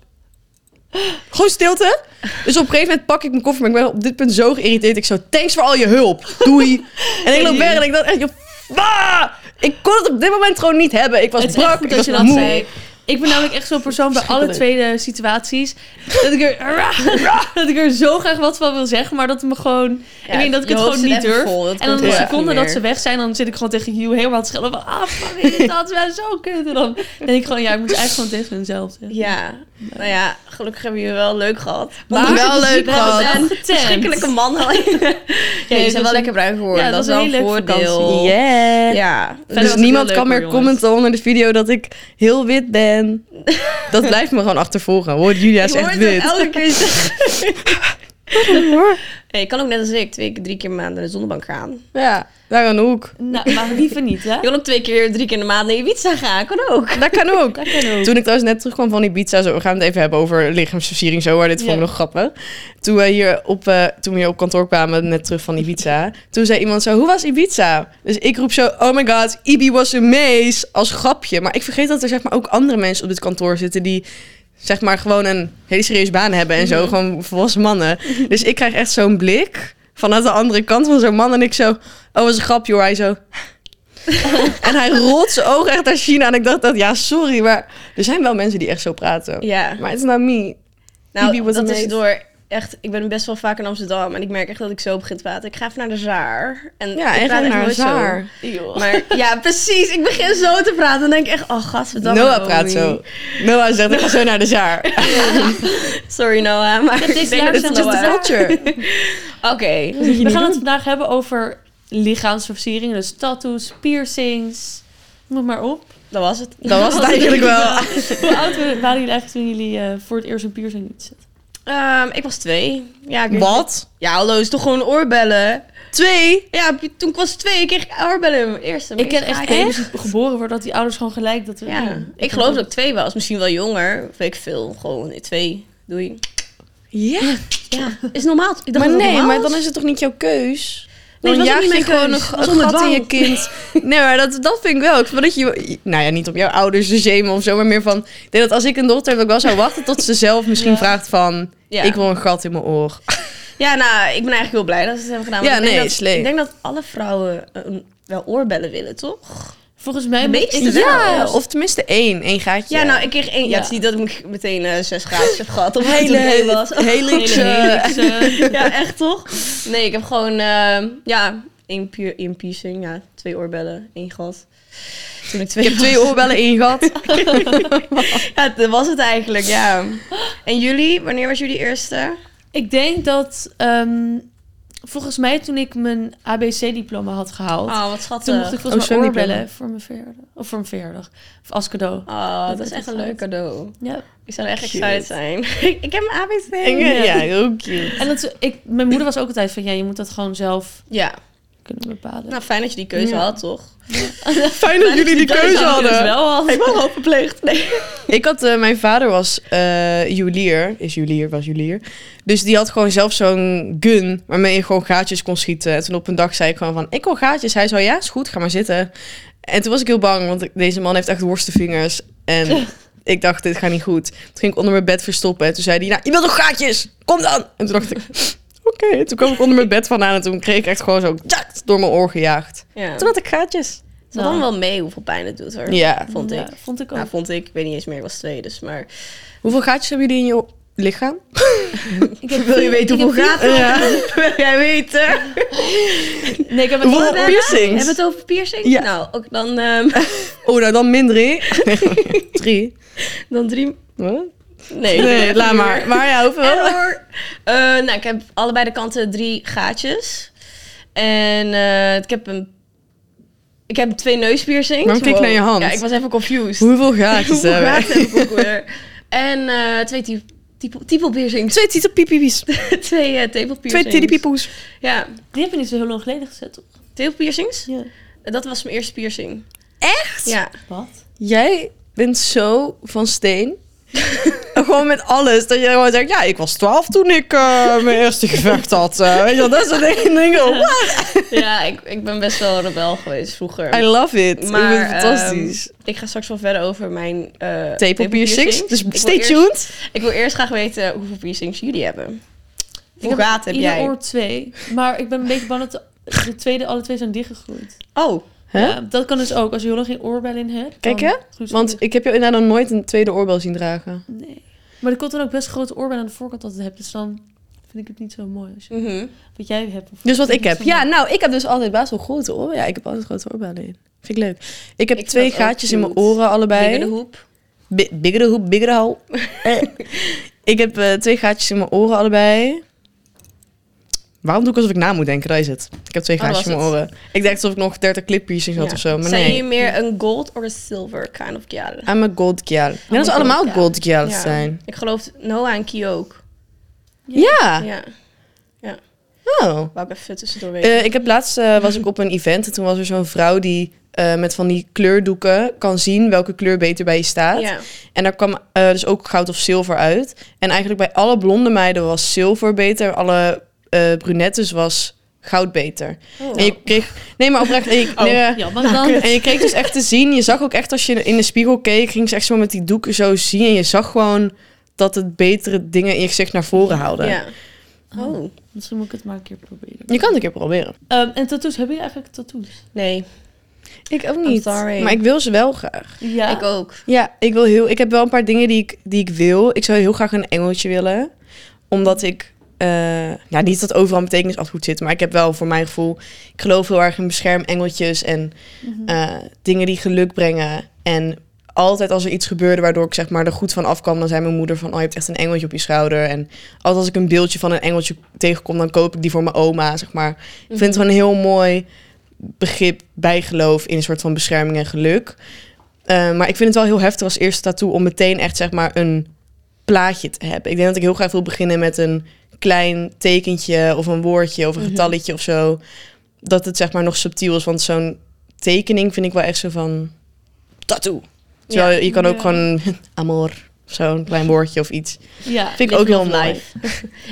Speaker 1: Gewoon stilte. Dus op een gegeven moment pak ik mijn koffer. Maar ik ben op dit punt zo geïrriteerd. Ik zo, thanks voor al je hulp. Doei. en ik loop weg en ik dacht echt, "Ah!" Ik kon het op dit moment gewoon niet hebben. Ik was
Speaker 3: Het is echt
Speaker 1: brak,
Speaker 3: goed
Speaker 1: ik
Speaker 3: dat
Speaker 1: was
Speaker 3: je dat
Speaker 1: moe.
Speaker 3: zei. Ik ben namelijk echt zo'n persoon bij alle tweede situaties. Dat ik, er, dat ik er zo graag wat van wil zeggen, maar dat het me gewoon. ik denk dat ik
Speaker 2: je
Speaker 3: het
Speaker 2: hoofd
Speaker 3: gewoon
Speaker 2: zit
Speaker 3: niet
Speaker 2: even
Speaker 3: durf.
Speaker 2: vol, dat
Speaker 3: en dan
Speaker 2: komt
Speaker 3: de
Speaker 1: echt
Speaker 3: seconde
Speaker 2: niet
Speaker 3: dat
Speaker 2: meer.
Speaker 3: ze weg zijn, dan zit ik gewoon tegen Hugh helemaal te schelden. Van, ah, fuck, dit is dat is zo kut. En dan denk ik gewoon, ja, ik moet eigenlijk gewoon tegen mezelf zeggen.
Speaker 2: Ja. Nou ja, gelukkig hebben jullie wel leuk gehad.
Speaker 3: Maar-
Speaker 1: wel leuk
Speaker 3: We hebben
Speaker 1: gehad.
Speaker 3: het wel
Speaker 2: Een
Speaker 3: getemd.
Speaker 2: verschrikkelijke man. ja, die
Speaker 3: dat
Speaker 2: zijn
Speaker 3: was
Speaker 2: wel
Speaker 3: dus een-
Speaker 2: lekker bruin geworden.
Speaker 3: Ja,
Speaker 2: dat is
Speaker 3: dat
Speaker 2: wel
Speaker 3: was
Speaker 2: een
Speaker 3: een hele leuke
Speaker 2: voordeel.
Speaker 3: vakantie.
Speaker 1: Yeah.
Speaker 2: Ja.
Speaker 3: Verder was
Speaker 1: Dus
Speaker 3: het
Speaker 1: niemand
Speaker 3: heel
Speaker 1: kan
Speaker 3: leuk,
Speaker 1: meer
Speaker 3: hoor, jongens.
Speaker 1: commenten onder de video dat ik heel wit ben. Dat blijft me gewoon achtervolgen. Hoor, Julia is
Speaker 2: Ik hoor
Speaker 1: echt
Speaker 2: het
Speaker 1: wit.
Speaker 2: elke keer zeggen. Hey, je kan ook net als Eh, ik twee keer, drie keer in de maand naar de zonnebank gaan.
Speaker 1: Ja, daar aan de hoek.
Speaker 3: Nou, maar liever niet, hè?
Speaker 2: Je kan ook twee keer, drie keer in de maand naar Ibiza gaan. Kan ook.
Speaker 1: Dat kan ook.
Speaker 3: Dat kan ook.
Speaker 1: Toen ik trouwens net terugkwam van Ibiza, zo, we gaan het even hebben over lichaamsversiering zo, maar dit vond ik
Speaker 3: Ja.
Speaker 1: nog grappig. Toen we, hier op, eh, toen we hier op kantoor kwamen, net terug van Ibiza, toen zei iemand zo, hoe was Ibiza? Dus ik roep zo, oh my god, Ibi was een maze, als grapje. Maar ik vergeet dat er zeg maar ook andere mensen op dit kantoor zitten die zeg maar gewoon een hele serieuze baan hebben en
Speaker 2: Mhm.
Speaker 1: zo, gewoon volwassen mannen. Dus ik krijg echt zo'n blik vanuit de andere kant van zo'n man en ik zo, oh was een grapje hoor, hij zo... en hij rolt zijn ogen echt naar China. En ik dacht dat, ja, sorry, maar er zijn wel mensen die echt zo praten.
Speaker 2: Ja.
Speaker 1: Maar het is not me. Ibi
Speaker 2: Nou,
Speaker 1: was
Speaker 2: dat
Speaker 1: amazed.
Speaker 2: is door... Echt, ik ben best wel vaak in Amsterdam en ik merk echt dat ik zo begin te praten. Ik ga even naar de zaar. En
Speaker 1: Ja,
Speaker 2: ik
Speaker 1: echt
Speaker 2: praat
Speaker 1: naar
Speaker 2: nooit zo.
Speaker 1: Zaar.
Speaker 3: Eeuw.
Speaker 2: Maar ja, precies. Ik begin zo te praten en denk ik echt, oh gadverdamme.
Speaker 1: Noah praat
Speaker 2: Naomi.
Speaker 1: zo. Noah zegt, ik ga zo naar de zaar.
Speaker 2: Sorry Noah, maar
Speaker 3: dit
Speaker 2: ik dus
Speaker 3: jaar
Speaker 2: denk dat
Speaker 3: zijn
Speaker 2: het
Speaker 1: It's just
Speaker 2: Noah.
Speaker 1: the culture.
Speaker 2: Oké.
Speaker 3: We gaan het vandaag hebben over lichaamsversieringen. Dus tattoos, piercings, noem maar op.
Speaker 2: Dat was het.
Speaker 1: Dat was het eigenlijk wel.
Speaker 3: Hoe oud waren jullie eigenlijk toen jullie eh, voor het eerst een piercing lieten zetten?
Speaker 2: Ehm, ik was twee. Ja, ik weet niet.
Speaker 1: Wat?
Speaker 2: Ja, hallo, is toch gewoon oorbellen?
Speaker 1: Twee?
Speaker 2: Ja, toen ik was twee, kreeg ik oorbellen in mijn eerste.
Speaker 3: Ik
Speaker 2: mijn
Speaker 3: ken
Speaker 2: eerste
Speaker 3: echt
Speaker 2: gaatje.
Speaker 3: baby's die geboren worden dat die ouders gewoon gelijk dat we Oh.
Speaker 2: Ja, ik geloof dat ik twee was. Misschien wel jonger. Weet ik veel. Gewoon twee. Doei.
Speaker 1: Ja.
Speaker 2: Ja, is normaal. Ik dacht
Speaker 1: Maar
Speaker 2: dat het
Speaker 1: nee,
Speaker 2: normaal
Speaker 1: maar dan
Speaker 2: was.
Speaker 1: is het toch niet jouw keus?
Speaker 2: Nee,
Speaker 1: dan
Speaker 2: dat was
Speaker 1: jaag
Speaker 2: ook niet
Speaker 1: je
Speaker 2: mijn
Speaker 1: gewoon
Speaker 2: keus.
Speaker 1: een,
Speaker 2: Dat was
Speaker 1: een
Speaker 2: onder
Speaker 1: gat in je
Speaker 2: dwang.
Speaker 1: kind. Nee, maar dat, dat vind ik wel. Ik vind dat je, nou ja, niet op jouw ouders te shamen of zo, maar meer van... Ik denk dat als ik een dochter heb, dat ik wel zou wachten tot ze zelf misschien
Speaker 3: Ja.
Speaker 1: vraagt van...
Speaker 2: Ja.
Speaker 1: Ik wil een gat in mijn oor.
Speaker 2: Ja, nou, ik ben eigenlijk heel blij dat ze het hebben gedaan.
Speaker 1: Ja,
Speaker 2: want ik denk
Speaker 1: nee,
Speaker 2: dat-
Speaker 1: slee.
Speaker 2: Ik denk dat alle vrouwen eh, een- wel oorbellen willen, toch?
Speaker 3: Volgens mij
Speaker 2: De
Speaker 3: moet-
Speaker 2: meeste
Speaker 3: is het
Speaker 2: wel.
Speaker 1: Ja,
Speaker 2: Ja.
Speaker 1: of tenminste één. één gaatje.
Speaker 2: Ja, nou, ik kreeg één. Ja,
Speaker 3: Ja.
Speaker 2: het is niet dat ik meteen eh, zes graadjes heb gehad. Of
Speaker 1: Hele-
Speaker 2: hele nee was.
Speaker 1: helix,
Speaker 3: Hele
Speaker 1: eh,
Speaker 3: helix, eh,
Speaker 2: ja, echt toch? Nee, ik heb gewoon, eh, ja, één, pier, één piercing, ja, twee oorbellen, één gat. Toen ik twee
Speaker 1: Ik heb twee oorbellen, één gat.
Speaker 2: Ja, dat was het eigenlijk, ja. En jullie, wanneer was jullie eerste?
Speaker 3: ik denk dat ehm, volgens mij toen ik mijn ABC-diploma had gehaald,
Speaker 2: Ah, wat
Speaker 3: toen
Speaker 2: schattig.
Speaker 3: mocht ik volgens
Speaker 1: Oh,
Speaker 3: mij
Speaker 1: zo'n
Speaker 3: oorbellen voor mijn verjaardag. Of voor mijn verjaardag. Of als cadeau.
Speaker 2: Ah, dat,
Speaker 3: Dat
Speaker 2: is
Speaker 3: is
Speaker 2: echt een
Speaker 3: goud.
Speaker 2: leuk cadeau.
Speaker 3: Ja.
Speaker 2: Ik zou echt
Speaker 1: Cute.
Speaker 2: excited zijn. ik heb mijn ABC.
Speaker 1: Ja, ja, heel cute.
Speaker 3: En dat, ik, mijn moeder was ook altijd van, ja, je moet dat gewoon zelf
Speaker 2: Ja,
Speaker 3: kunnen bepalen.
Speaker 2: nou fijn dat je die keuze
Speaker 1: Ja.
Speaker 2: had, toch?
Speaker 1: Fijn dat jullie die keuze
Speaker 3: Dus
Speaker 1: hadden.
Speaker 3: wel al.
Speaker 2: Ik was al verpleegd. Nee.
Speaker 1: Ik had, eh, mijn vader was eh juwelier, is juwelier, was juwelier. Dus die had gewoon zelf zo'n gun waarmee je gewoon gaatjes kon schieten. En toen op een dag zei ik gewoon van, ik wil gaatjes. Hij zei, ja, is goed, ga maar zitten. En toen was ik heel bang, want ik- deze man heeft echt worstenvingers. En ik dacht, dit gaat niet goed. Toen ging ik onder mijn bed verstoppen en toen zei hij, nou, je wilt toch gaatjes? Kom dan! En toen dacht ik, oké. Toen kwam ik onder mijn bed vandaan en toen kreeg ik echt gewoon zo tjak, door mijn oor gejaagd.
Speaker 2: Ja.
Speaker 1: Toen had ik gaatjes.
Speaker 2: Het valt allemaal wel mee hoeveel pijn het doet, hoor.
Speaker 1: Nou. Ja.
Speaker 2: Vond ik.
Speaker 3: Ja, vond ik ook.
Speaker 2: Nou, vond ik. Ik weet niet eens meer. Ik was twee, dus maar...
Speaker 1: Hoeveel gaatjes hebben jullie in je lichaam?
Speaker 3: Ik heb-
Speaker 2: Wil je weten
Speaker 3: ik
Speaker 2: hoeveel
Speaker 3: heb-
Speaker 2: graven? Wil jij weten?
Speaker 3: Nee, ik heb het
Speaker 1: Hoeveel piercings?
Speaker 2: Hebben we het over piercing?
Speaker 1: Ja.
Speaker 2: Nou, ook dan, ehm,
Speaker 1: Oh, nou dan min drie. drie.
Speaker 2: dan drie...
Speaker 1: Wat?
Speaker 2: Nee,
Speaker 1: Nee, laat maar. Maar ja, hoeveel?
Speaker 2: Error. Eh, nou, ik heb allebei de kanten drie gaatjes. En eh, ik heb een... Ik heb twee neuspiercings.
Speaker 1: Waarom kijk je naar je hand?
Speaker 2: Ja, ik was even confused.
Speaker 1: Hoeveel gaatjes
Speaker 2: Hoeveel
Speaker 1: hebben
Speaker 2: gaten
Speaker 1: we?
Speaker 2: heb ik ook weer? En eh, twee type, type, type piercings.
Speaker 1: Twee titelpiepies.
Speaker 2: twee eh, tepel
Speaker 1: Twee
Speaker 2: piercings.
Speaker 1: titelpiepoes.
Speaker 2: Ja,
Speaker 3: Die heb je niet zo heel lang geleden gezet, toch?
Speaker 2: tepel piercings.
Speaker 3: Ja.
Speaker 2: Dat was mijn eerste piercing.
Speaker 1: Echt?
Speaker 2: Ja.
Speaker 3: Wat?
Speaker 1: Jij bent zo van steen. gewoon met alles. Dat je gewoon zegt, ja, ik was twaalf toen ik eh, mijn eerste gevecht had. Eh, weet je wel, dat is een ding. denk ik, oh, what?
Speaker 2: ja, ik, ik ben best wel een rebel geweest vroeger.
Speaker 1: I love it.
Speaker 2: Maar,
Speaker 1: ik vind het fantastisch.
Speaker 2: ehm, ik ga straks wel verder over mijn eh
Speaker 1: Tepelpiercings.
Speaker 2: tepelpiercings.
Speaker 1: Dus
Speaker 2: Ik wil
Speaker 1: stay
Speaker 2: eerst-
Speaker 1: tuned.
Speaker 2: ik wil eerst graag weten hoeveel piercings jullie hebben. Hoe
Speaker 3: heb
Speaker 2: gaten heb
Speaker 3: ieder
Speaker 2: jij?
Speaker 3: oor twee. Maar ik ben een beetje bang dat de, de tweede alle twee zijn dichtgegroeid.
Speaker 2: Oh,
Speaker 1: Hè?
Speaker 3: Ja, dat kan dus ook. Als je heel lang geen oorbel in hebt.
Speaker 1: Kijk,
Speaker 3: dan
Speaker 1: hè?
Speaker 3: groeit ze
Speaker 1: Want
Speaker 3: terug.
Speaker 1: ik heb jou inderdaad nog nooit een tweede oorbel zien dragen.
Speaker 3: Nee. Maar er komt dan ook best grote oorbel aan de voorkant altijd hebt. Dus dan vind ik het niet zo mooi. Als je,
Speaker 2: mhm.
Speaker 3: wat jij hebt. of-
Speaker 1: Mm. Dus wat ik heb.
Speaker 3: Zo mooi.
Speaker 1: Ja, nou, ik heb dus altijd best wel grote oren. Ja, ik heb altijd grote oorbellen in. Vind ik leuk. Ik heb
Speaker 2: Ik vind
Speaker 1: twee
Speaker 2: dat ook
Speaker 1: gaatjes in mijn
Speaker 2: cute.
Speaker 1: oren allebei.
Speaker 2: Binnen de hoep.
Speaker 1: Bi- Bigger de hoep, bigger de hal. Eh, ik heb eh, twee gaatjes in mijn oren allebei. Waarom doe ik alsof ik na moet denken? Daar is het. Ik heb twee
Speaker 2: Oh, dat
Speaker 1: gaatjes in
Speaker 2: was
Speaker 1: mijn oren. Ik dacht alsof ik nog 30 clip piercings had
Speaker 2: Ja.
Speaker 1: of zo. Maar
Speaker 2: Zijn
Speaker 1: nee.
Speaker 2: jullie meer een gold of een silver kind of girl?
Speaker 1: I'm a gold girl. Ik denk dat ze
Speaker 3: gold
Speaker 1: allemaal
Speaker 3: girl.
Speaker 1: gold girls
Speaker 2: Ja.
Speaker 1: zijn.
Speaker 2: Ik geloof Noah en Kio ook.
Speaker 1: Ja.
Speaker 2: Ja.
Speaker 1: Oh.
Speaker 2: Wou ik even tussendoor weten.
Speaker 1: Eh, ik heb laatst eh, was ik op een event en toen was er zo'n vrouw die eh, met van die kleurdoeken kan zien welke kleur beter bij je staat.
Speaker 2: ja.
Speaker 1: En daar kwam eh, dus ook goud of zilver uit. En eigenlijk bij alle blonde meiden was zilver beter. Alle eh, brunettes was goud beter.
Speaker 2: Oh.
Speaker 1: En je kreeg... Nee, maar oprecht... En je,
Speaker 3: Oh,
Speaker 1: nee, eh,
Speaker 3: ja, maar dan...
Speaker 1: en je kreeg dus echt te zien. Je zag ook echt als je in de spiegel keek... ging ze echt zo met die doeken zo zien. En je zag gewoon dat het betere dingen in je gezicht naar voren haalde.
Speaker 2: ja. Oh.
Speaker 3: Misschien moet ik het maar een keer proberen.
Speaker 1: Je kan het een keer proberen.
Speaker 3: Ehm, en tattoos. Hebben jullie eigenlijk tattoos?
Speaker 2: Nee,
Speaker 1: Ik ook
Speaker 2: niet.
Speaker 1: Maar ik wil ze wel graag.
Speaker 3: Ja.
Speaker 2: ik ook.
Speaker 1: Ja, ik, wil heel, ik heb wel een paar dingen die ik, die ik wil. Ik zou heel graag een engeltje willen. Omdat ik... eh, ja, niet dat overal een betekenis altijd goed zit. Maar ik heb wel voor mijn gevoel... Ik geloof heel erg in beschermengeltjes. En
Speaker 3: Mhm.
Speaker 1: eh, dingen die geluk brengen. En altijd als er iets gebeurde waardoor ik zeg maar er goed van afkwam... dan zei mijn moeder van... Oh, je hebt echt een engeltje op je schouder. En altijd als ik een beeldje van een engeltje tegenkom... dan koop ik die voor mijn oma, zeg maar. Ik vind het gewoon een heel mooi begrip bijgeloof in een soort van bescherming en geluk. Eh, maar ik vind het wel heel heftig als eerste tattoo om meteen echt zeg maar een plaatje te hebben. Ik denk dat ik heel graag wil beginnen met een klein tekentje of een woordje of een
Speaker 2: Mhm.
Speaker 1: getalletje of zo. Dat het zeg maar nog subtiel is, want zo'n tekening vind ik wel echt zo van tattoo. Terwijl je kan ook
Speaker 3: Ja.
Speaker 1: gewoon amor, zo'n klein woordje of iets.
Speaker 3: Ja.
Speaker 1: Vind ik ook heel mooi.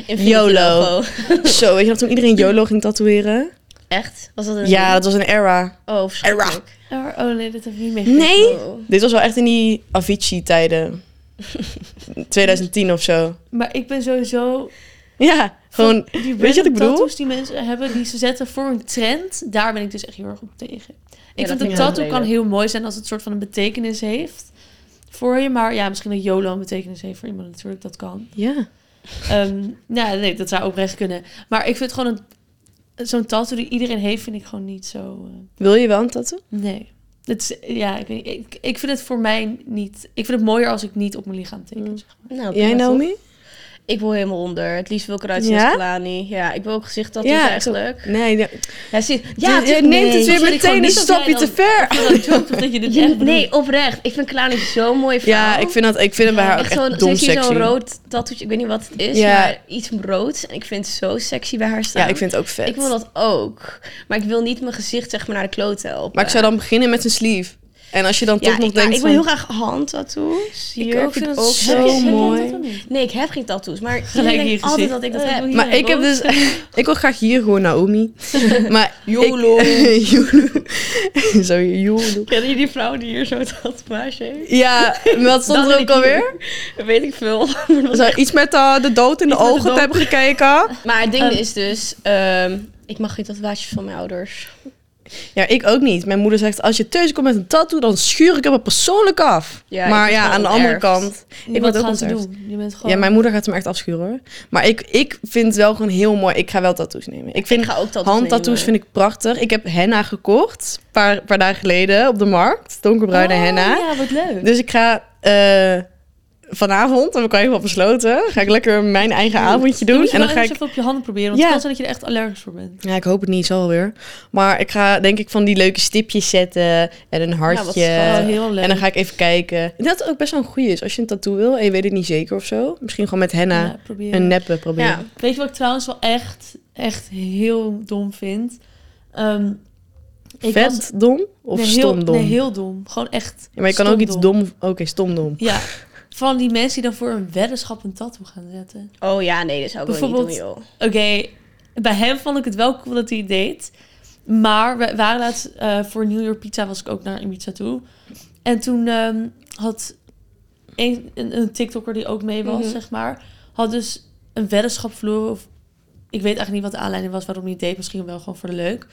Speaker 2: Infinity
Speaker 1: YOLO.
Speaker 2: logo.
Speaker 1: Zo, weet je nog toen iedereen YOLO ging tatoeëren?
Speaker 2: Echt? Was dat een...
Speaker 1: Ja, dat was een era.
Speaker 2: Oh, verschrikkelijk.
Speaker 3: Er- Oh nee, dat heb ik niet meer.
Speaker 1: Nee?
Speaker 2: Oh.
Speaker 1: Dit was wel echt in die Avicii-tijden. 2010 of zo.
Speaker 3: Maar ik ben sowieso...
Speaker 1: Ja, gewoon...
Speaker 3: van die
Speaker 1: weet je wat ik
Speaker 3: random
Speaker 1: bedoel?
Speaker 3: tattoos die mensen hebben, die ze zetten voor een trend, daar ben ik dus echt heel erg op tegen. Ik
Speaker 2: dat
Speaker 3: vind
Speaker 2: vind
Speaker 3: een
Speaker 2: ik wel
Speaker 3: tattoo kan
Speaker 2: lelijk.
Speaker 3: heel mooi zijn als het een soort van een betekenis heeft voor je. Maar ja, misschien dat YOLO een betekenis heeft voor iemand natuurlijk, dat kan.
Speaker 1: Ja.
Speaker 3: Ehm nou, ja, nee, dat zou oprecht kunnen. Maar ik vind gewoon een, zo'n tattoo die iedereen heeft, vind ik gewoon niet zo... eh,
Speaker 1: Wil je wel een tattoo?
Speaker 3: Nee. Het is, ja, ik, weet niet. ik, ik vind het voor mij niet... Ik vind het mooier als ik niet op mijn lichaam teken.
Speaker 1: Mm.
Speaker 3: Zeg maar.
Speaker 2: Nou,
Speaker 1: Jij,
Speaker 2: prima, toch?
Speaker 1: Naomi?
Speaker 2: Ik wil helemaal onder. Het liefst wil ik eruit zien
Speaker 1: Ja?
Speaker 2: als Kalani. Ja, ik wil ook gezicht dat
Speaker 1: Ja,
Speaker 2: eigenlijk.
Speaker 1: Nee, ja,
Speaker 2: Ja, zie,
Speaker 1: ja, je
Speaker 2: tuurlijk,
Speaker 1: neemt het
Speaker 2: nee.
Speaker 1: weer
Speaker 3: Sorry, gewoon
Speaker 1: meteen een
Speaker 3: niet dat
Speaker 1: stapje
Speaker 3: jij
Speaker 1: te
Speaker 3: dan-
Speaker 1: ver.
Speaker 3: Ik vind dat joked, dat je dit
Speaker 2: Je-
Speaker 3: echt bedoelt.
Speaker 2: nee, oprecht. Ik vind Kalani zo'n mooie vrouw.
Speaker 1: Ja, ik vind, dat, ik vind hem bij haar ook echt,
Speaker 2: zo'n,
Speaker 1: dom
Speaker 2: Ze heeft hier
Speaker 1: sexy.
Speaker 2: zo'n rood tattooetje. Ik weet niet wat het is,
Speaker 1: Ja.
Speaker 2: maar iets roods. En ik vind het zo sexy bij haar staan.
Speaker 1: Ja, ik vind het ook vet.
Speaker 2: Ik wil dat ook. Maar ik wil niet mijn gezicht zeg maar naar de klote helpen.
Speaker 1: Maar ik zou dan beginnen met een sleeve. En als je dan
Speaker 2: Ja,
Speaker 1: toch nog
Speaker 2: ik, maar
Speaker 1: denkt
Speaker 2: ik wil heel
Speaker 1: van...
Speaker 2: graag handtattoos. Hier,
Speaker 1: ook, vind het zo
Speaker 2: sexy.
Speaker 3: Heb jij
Speaker 1: mooi.
Speaker 3: dat dan niet?
Speaker 2: Nee, ik heb geen tattoos, maar
Speaker 3: Gelijk
Speaker 2: ik
Speaker 3: hier
Speaker 2: denk altijd
Speaker 3: gezicht.
Speaker 2: dat ik dat
Speaker 3: Dat
Speaker 2: heb.
Speaker 3: wil je.
Speaker 1: Maar ik heb dus... Ik wil graag hier gewoon Naomi. Maar YOLO. YOLO. Zo, YOLO.
Speaker 2: Kennen jullie die vrouw die hier zo tatoeage heeft?
Speaker 1: Ja, wat stond
Speaker 2: Dan
Speaker 1: er
Speaker 2: ik
Speaker 1: ook
Speaker 2: hier.
Speaker 1: alweer?
Speaker 2: Dat weet ik veel.
Speaker 1: Zou iets met eh, de dood in de
Speaker 3: Iets met de
Speaker 1: ogen te
Speaker 3: dood.
Speaker 1: hebben gekeken?
Speaker 2: Maar het ding
Speaker 3: Ehm.
Speaker 2: is dus, ehm, ik mag geen tatoeages van mijn ouders.
Speaker 1: Ja, ik ook niet. Mijn moeder zegt, als je thuis komt met een tattoo, dan schuur ik hem er persoonlijk af.
Speaker 2: Ja, ik
Speaker 1: maar
Speaker 2: word
Speaker 1: ja,
Speaker 2: gewoon
Speaker 1: aan de andere
Speaker 2: onterfd.
Speaker 1: kant...
Speaker 3: Ik
Speaker 1: Ik
Speaker 3: wat
Speaker 1: word ook
Speaker 3: gaan ze
Speaker 1: onterfd.
Speaker 3: doen? Je bent gewoon...
Speaker 1: Ja, mijn moeder gaat hem echt afschuren hoor. Maar ik, ik vind het wel gewoon heel mooi. Ik ga wel tattoos nemen. Ik vind
Speaker 2: ik ga ook tattoos
Speaker 1: handtattoos vind ik prachtig. Ik heb henna gekocht. Een paar, paar dagen geleden op de markt. Donkerbruine
Speaker 3: Oh,
Speaker 1: henna.
Speaker 3: Ja, wat leuk.
Speaker 1: Dus ik ga eh, vanavond, heb ik al helemaal besloten, ga ik lekker mijn eigen avondje doen.
Speaker 3: moet je
Speaker 1: En dan
Speaker 3: wel
Speaker 1: ga
Speaker 3: eerst
Speaker 1: ik...
Speaker 3: even op je handen proberen, want
Speaker 1: Ja.
Speaker 3: het kan zijn dat je er echt allergisch voor bent.
Speaker 1: Ja, ik hoop het niet, zal weer. Maar ik ga denk ik van die leuke stipjes zetten en een hartje.
Speaker 2: schattig.
Speaker 3: Oh, heel leuk.
Speaker 1: en dan ga ik even kijken. Ik denk dat het ook best wel een goeie is. Als je een tattoo wil en je weet het niet zeker of zo. Misschien gewoon met henna
Speaker 3: Ja, proberen.
Speaker 1: Nou, een neppe proberen.
Speaker 2: Ja.
Speaker 3: Weet je wat ik trouwens wel echt, echt heel dom vind? Ehm, ik
Speaker 1: Vet
Speaker 3: was-
Speaker 1: dom of
Speaker 3: nee, heel,
Speaker 1: stom dom?
Speaker 3: Nee, heel dom. Gewoon echt
Speaker 1: Ja, maar je kan ook iets
Speaker 3: stomdom.
Speaker 1: dom... Oké, stom dom.
Speaker 3: Ja, van die mensen die dan voor een weddenschap een tattoo gaan zetten.
Speaker 2: Oh ja, nee, dat zou ik wel niet doen,
Speaker 3: Bijvoorbeeld-
Speaker 2: joh.
Speaker 3: Oké, bij hem vond ik het wel cool dat hij het deed. Maar we waren laatst eh, voor New York Pizza was ik ook naar Ibiza toe. En toen ehm, had een, een, een TikToker die ook mee was,
Speaker 2: Mhm.
Speaker 3: zeg maar, had dus een weddenschap verloren. Of, ik weet eigenlijk niet wat de aanleiding was waarom hij het deed. Misschien wel gewoon voor de leuk.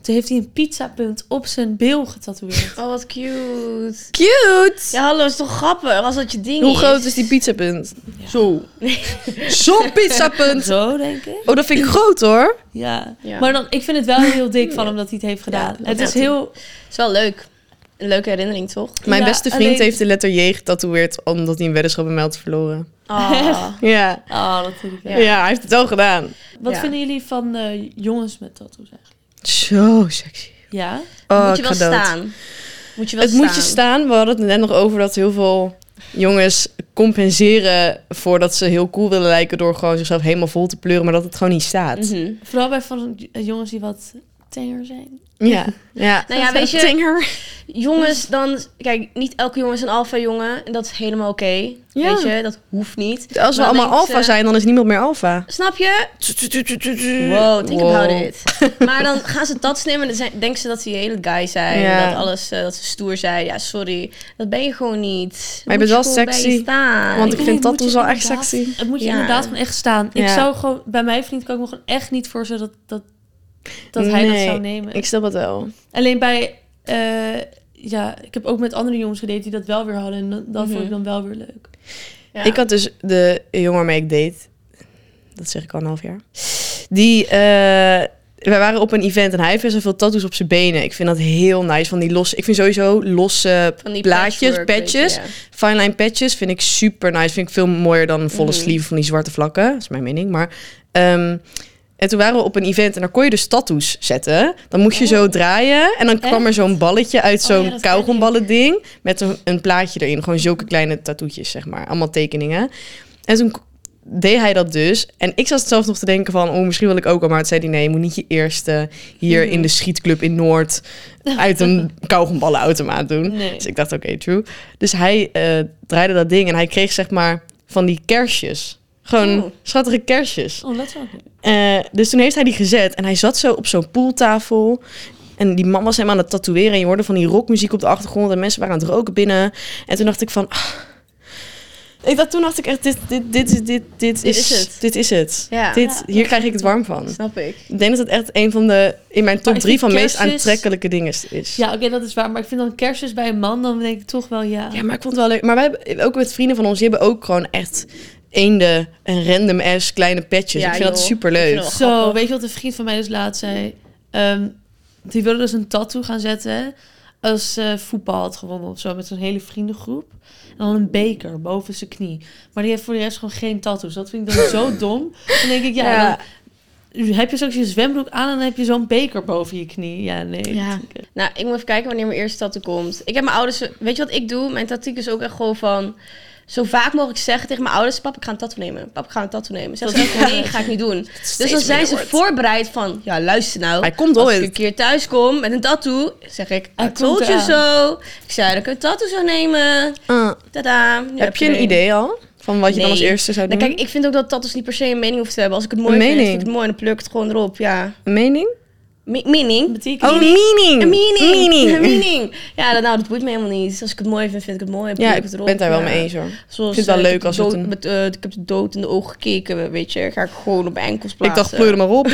Speaker 3: Toen heeft hij een pizzapunt op zijn bil getatoeëerd.
Speaker 2: Oh, wat cute.
Speaker 1: Cute!
Speaker 2: Ja, hallo, is toch grappig als dat je ding
Speaker 1: Hoe
Speaker 2: is?
Speaker 1: groot is die pizzapunt? Zo. Zo'n pizzapunt!
Speaker 3: Zo, denk ik.
Speaker 1: Oh, dat vind ik groot hoor.
Speaker 3: Ja.
Speaker 2: Ja.
Speaker 3: Maar dan, ik vind het wel heel dik van hem dat hij het heeft gedaan.
Speaker 2: dat
Speaker 3: het is
Speaker 2: doet hij.
Speaker 3: heel...
Speaker 2: is wel leuk. Een leuke herinnering, toch?
Speaker 1: Mijn
Speaker 3: Ja,
Speaker 1: beste vriend
Speaker 3: alleen-
Speaker 1: heeft de letter J getatoeëerd omdat hij een weddenschap met mij had verloren.
Speaker 2: Ah.
Speaker 1: Ja.
Speaker 3: Ah, dat vind ik wel.
Speaker 1: Ja. hij heeft het wel gedaan.
Speaker 3: Wat
Speaker 2: Ja.
Speaker 3: vinden jullie van eh, jongens met tattoos eigenlijk?
Speaker 1: Zo sexy.
Speaker 3: Ja?
Speaker 1: Oh,
Speaker 2: moet je
Speaker 1: ik
Speaker 2: wel
Speaker 1: ga dood.
Speaker 2: staan. Moet je wel
Speaker 1: Het
Speaker 2: staan.
Speaker 1: moet je staan. We hadden het net nog over dat heel veel jongens compenseren voordat ze heel cool willen lijken door gewoon zichzelf helemaal vol te pleuren, maar dat het gewoon niet staat.
Speaker 2: Mhm.
Speaker 3: Vooral bij van eh, jongens die wat tenger zijn.
Speaker 1: Ja. ja.
Speaker 2: Nou ja, weet je-
Speaker 1: Tinger. Dus-
Speaker 2: Jongens, dan... Kijk, niet elke jongen is een alfa-jongen. En dat is helemaal oké.
Speaker 1: Ja.
Speaker 2: Weet je, dat hoeft niet.
Speaker 1: Als we
Speaker 2: Maar dan
Speaker 1: allemaal
Speaker 2: denkt ze-
Speaker 1: alfa zijn, dan is niemand meer alfa.
Speaker 2: Snap je?
Speaker 1: Wow,
Speaker 2: Wow, think about it. Maar dan gaan ze dat nemen en dan zijn- denken ze dat ze een hele guy zijn.
Speaker 1: Ja.
Speaker 2: Dat, alles, eh, dat ze stoer zijn. Ja, sorry. Dat ben je gewoon niet.
Speaker 1: Maar je bent
Speaker 2: Moet
Speaker 1: wel
Speaker 2: gewoon bij je
Speaker 1: sexy.
Speaker 2: staan.
Speaker 1: Want ik
Speaker 3: Nee,
Speaker 1: vind
Speaker 3: moet
Speaker 1: tattoos
Speaker 3: je
Speaker 1: wel echt
Speaker 3: inderdaad-
Speaker 1: sexy.
Speaker 3: Het moet je
Speaker 2: Ja.
Speaker 3: inderdaad gewoon echt staan. Ik
Speaker 1: Ja.
Speaker 3: zou gewoon... Bij mijn vriend kan ik me gewoon echt niet voorstellen dat, dat, dat hij dat
Speaker 1: Nee,
Speaker 3: zou nemen.
Speaker 1: Ik snap het wel.
Speaker 3: Alleen bij... eh, ja, ik heb ook met andere jongens gedate die dat wel weer hadden. En dat, dat
Speaker 1: Mhm.
Speaker 3: vond ik dan wel weer leuk.
Speaker 2: Ja.
Speaker 1: Ik had dus de jongen waarmee ik date, dat zeg ik al een half jaar, die, eh, wij waren op een event en hij heeft best wel veel tattoos op zijn benen. Ik vind dat heel nice, van die losse, ik vind sowieso losse
Speaker 2: Van die
Speaker 1: plaatjes,
Speaker 2: patchwork,
Speaker 1: patches,
Speaker 2: weet je, ja.
Speaker 1: fine line patches vind ik super nice. Vind ik veel mooier dan een volle
Speaker 2: Mhm.
Speaker 1: sleeve van die zwarte vlakken, dat is mijn mening. Maar, ehm, en toen waren we op een event en daar kon je dus tattoos zetten. Dan moest je zo draaien en dan kwam er zo'n balletje uit
Speaker 3: Oh
Speaker 1: zo'n
Speaker 3: ja, dat ken ik.
Speaker 1: kauwgomballen ding met een, een plaatje erin. Gewoon zulke kleine tattoetjes, zeg maar. Allemaal tekeningen. En toen k- deed hij dat dus. En ik zat zelf nog te denken van, oh, misschien wil ik ook al. Maar het zei hij, nee, je moet niet je eerste hier in de schietclub in Noord uit een kauwgomballenautomaat doen.
Speaker 3: Nee.
Speaker 1: Dus ik dacht, oké, true. Dus hij eh, draaide dat ding en hij kreeg zeg maar van die kersjes. Gewoon
Speaker 2: Oeh.
Speaker 1: schattige kersjes.
Speaker 3: Oh, dat is wel leuk.
Speaker 1: Eh, dus toen heeft hij die gezet en hij zat zo op zo'n pooltafel. En die man was hem aan het tatoeëren en je hoorde van die rockmuziek op de achtergrond en mensen waren aan het roken binnen. En toen dacht ik van... ah. Ik dacht, toen dacht ik echt, dit, dit, dit, dit, dit,
Speaker 2: Dit
Speaker 1: is,
Speaker 2: is het.
Speaker 1: Dit is het.
Speaker 2: Ja.
Speaker 1: Dit,
Speaker 3: Ja.
Speaker 1: hier krijg ik het warm van.
Speaker 2: Snap ik.
Speaker 1: Ik denk dat het echt een van de, in mijn top
Speaker 3: ik
Speaker 1: drie
Speaker 3: vind
Speaker 1: van meest
Speaker 3: kerstjes-
Speaker 1: aantrekkelijke dingen is- is.
Speaker 3: Ja, oké, dat is waar. Maar ik vind dan kerstjes bij een man, dan denk ik toch wel ja.
Speaker 1: Ja, maar ik vond het wel leuk. Maar wij hebben ook met vrienden van ons, die hebben ook gewoon echt eenden en random ass kleine petjes.
Speaker 2: Ja,
Speaker 1: ik vind dat
Speaker 2: joh.
Speaker 1: super
Speaker 2: Ik
Speaker 1: leuk.
Speaker 2: vind dat
Speaker 3: Zo,
Speaker 2: grappig.
Speaker 3: weet je wat een vriend van mij dus laatst zei? Ehm, die wilde dus een tattoo gaan zetten. als eh, voetbal had gewonnen of zo. Met zo'n hele vriendengroep. En dan een beker boven zijn knie. Maar die heeft voor de rest gewoon geen tattoos. Dat vind ik dan zo dom. Dan denk ik, ja,
Speaker 1: Ja.
Speaker 3: dan heb je straks je zwembroek aan en dan heb je zo'n beker boven je knie. Ja, nee.
Speaker 1: Ja.
Speaker 2: Nou, ik moet even kijken wanneer mijn eerste tattoo komt. Ik heb mijn ouders... Weet je wat ik doe? Mijn tactiek is ook echt gewoon van... Zo vaak mogelijk zeggen tegen mijn ouders... Pap, ik ga een tattoo nemen. Pap, ik ga een tattoo nemen. Zeggen ze ook, nee, ga ik niet doen. Dus dan
Speaker 1: steeds
Speaker 2: zijn
Speaker 1: minder
Speaker 2: ze
Speaker 1: wordt.
Speaker 2: voorbereid van... Ja, luister nou.
Speaker 1: Hij komt
Speaker 2: Als
Speaker 1: ooit.
Speaker 2: ik een keer thuis kom met een tattoo... Zeg ik, I
Speaker 3: Hij
Speaker 2: told
Speaker 3: komt
Speaker 2: you
Speaker 3: eraan.
Speaker 2: so. Ik zei dat ik een tattoo zou nemen. Tadaa. Nu
Speaker 1: Ah, heb je
Speaker 2: er
Speaker 1: een idee al? Van wat je dan als
Speaker 2: Nee.
Speaker 1: eerste zou doen?
Speaker 2: Nou, kijk, ik vind ook dat tattoos niet per se een mening hoeft te hebben. Als ik het mooi
Speaker 1: Een
Speaker 2: vind, vind
Speaker 1: mening.
Speaker 2: ik het mooi en dan pluk ik het gewoon erop. Ja.
Speaker 1: Een mening?
Speaker 2: Me- meaning?
Speaker 3: Betekent
Speaker 1: Oh, meaning.
Speaker 2: Een meaning.
Speaker 1: Meaning.
Speaker 2: Een meaning. Ja, dat, nou, dat boeit me helemaal niet. Als ik het mooi vind, vind ik het mooi. en
Speaker 1: Ja,
Speaker 2: pluk
Speaker 1: ik
Speaker 2: het
Speaker 1: ben
Speaker 2: erop.
Speaker 1: het daar wel
Speaker 2: Ja.
Speaker 1: mee eens hoor.
Speaker 2: Zoals,
Speaker 1: Vind het wel
Speaker 2: eh,
Speaker 1: leuk
Speaker 2: ik heb
Speaker 1: als het
Speaker 2: dood-
Speaker 1: een-
Speaker 2: met, eh, ik heb de dood in de ogen gekeken, weet je. Ga ik gewoon op mijn enkels plaatsen.
Speaker 1: Ik dacht, pleur er maar op.